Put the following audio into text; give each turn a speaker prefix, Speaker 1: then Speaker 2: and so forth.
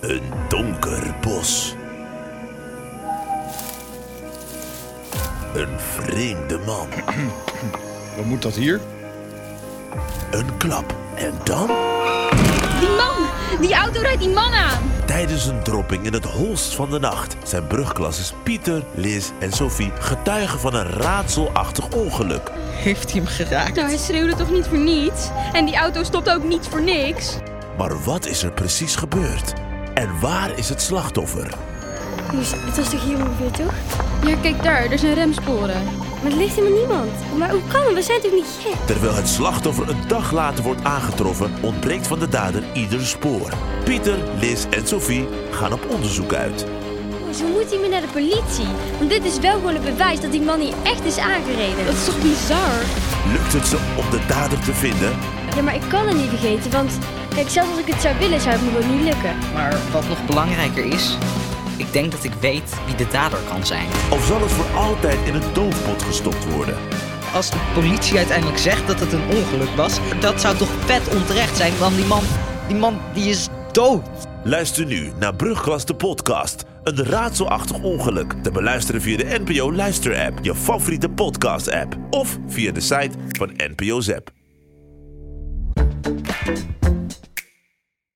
Speaker 1: Een donker bos. Een vreemde man.
Speaker 2: Dan moet dat hier.
Speaker 1: Een klap. En dan?
Speaker 3: Die man! Die auto rijdt die man aan!
Speaker 1: Tijdens een dropping in het holst van de nacht zijn brugklasses Pieter, Liz en Sophie getuigen van een raadselachtig ongeluk.
Speaker 4: Heeft hij hem geraakt?
Speaker 3: Nou, hij schreeuwde toch niet voor niets? En die auto stopt ook niet voor niks?
Speaker 1: Maar wat is er precies gebeurd? En waar is het slachtoffer?
Speaker 5: Dus het was toch hier ongeveer, toch?
Speaker 3: Ja, kijk daar, er zijn remsporen.
Speaker 5: Maar er ligt helemaal niemand. Maar hoe kan het? We zijn toch niet gek?
Speaker 1: Terwijl het slachtoffer een dag later wordt aangetroffen, ontbreekt van de dader ieder spoor. Pieter, Liz en Sophie gaan op onderzoek uit.
Speaker 5: Ze moeten hier naar de politie. Want dit is wel gewoon het bewijs dat die man hier echt is
Speaker 3: Dat
Speaker 5: aangereden.
Speaker 3: is toch bizar?
Speaker 1: Lukt het ze om de dader te vinden?
Speaker 5: Ja, maar ik kan het niet vergeten, want... Kijk, zelfs als ik het zou willen, zou het me gewoon niet lukken.
Speaker 4: Maar wat nog belangrijker is, ik denk dat ik weet wie de dader kan zijn.
Speaker 1: Of zal het voor altijd in een doofpot gestopt worden?
Speaker 4: Als de politie uiteindelijk zegt dat het een ongeluk was, dat zou toch vet onterecht zijn, want die man, die man die is dood.
Speaker 1: Luister nu naar Brugklas de podcast. Een raadselachtig ongeluk. Te beluisteren via de NPO Luister app, je favoriete podcast app. Of via de site van NPO Zep.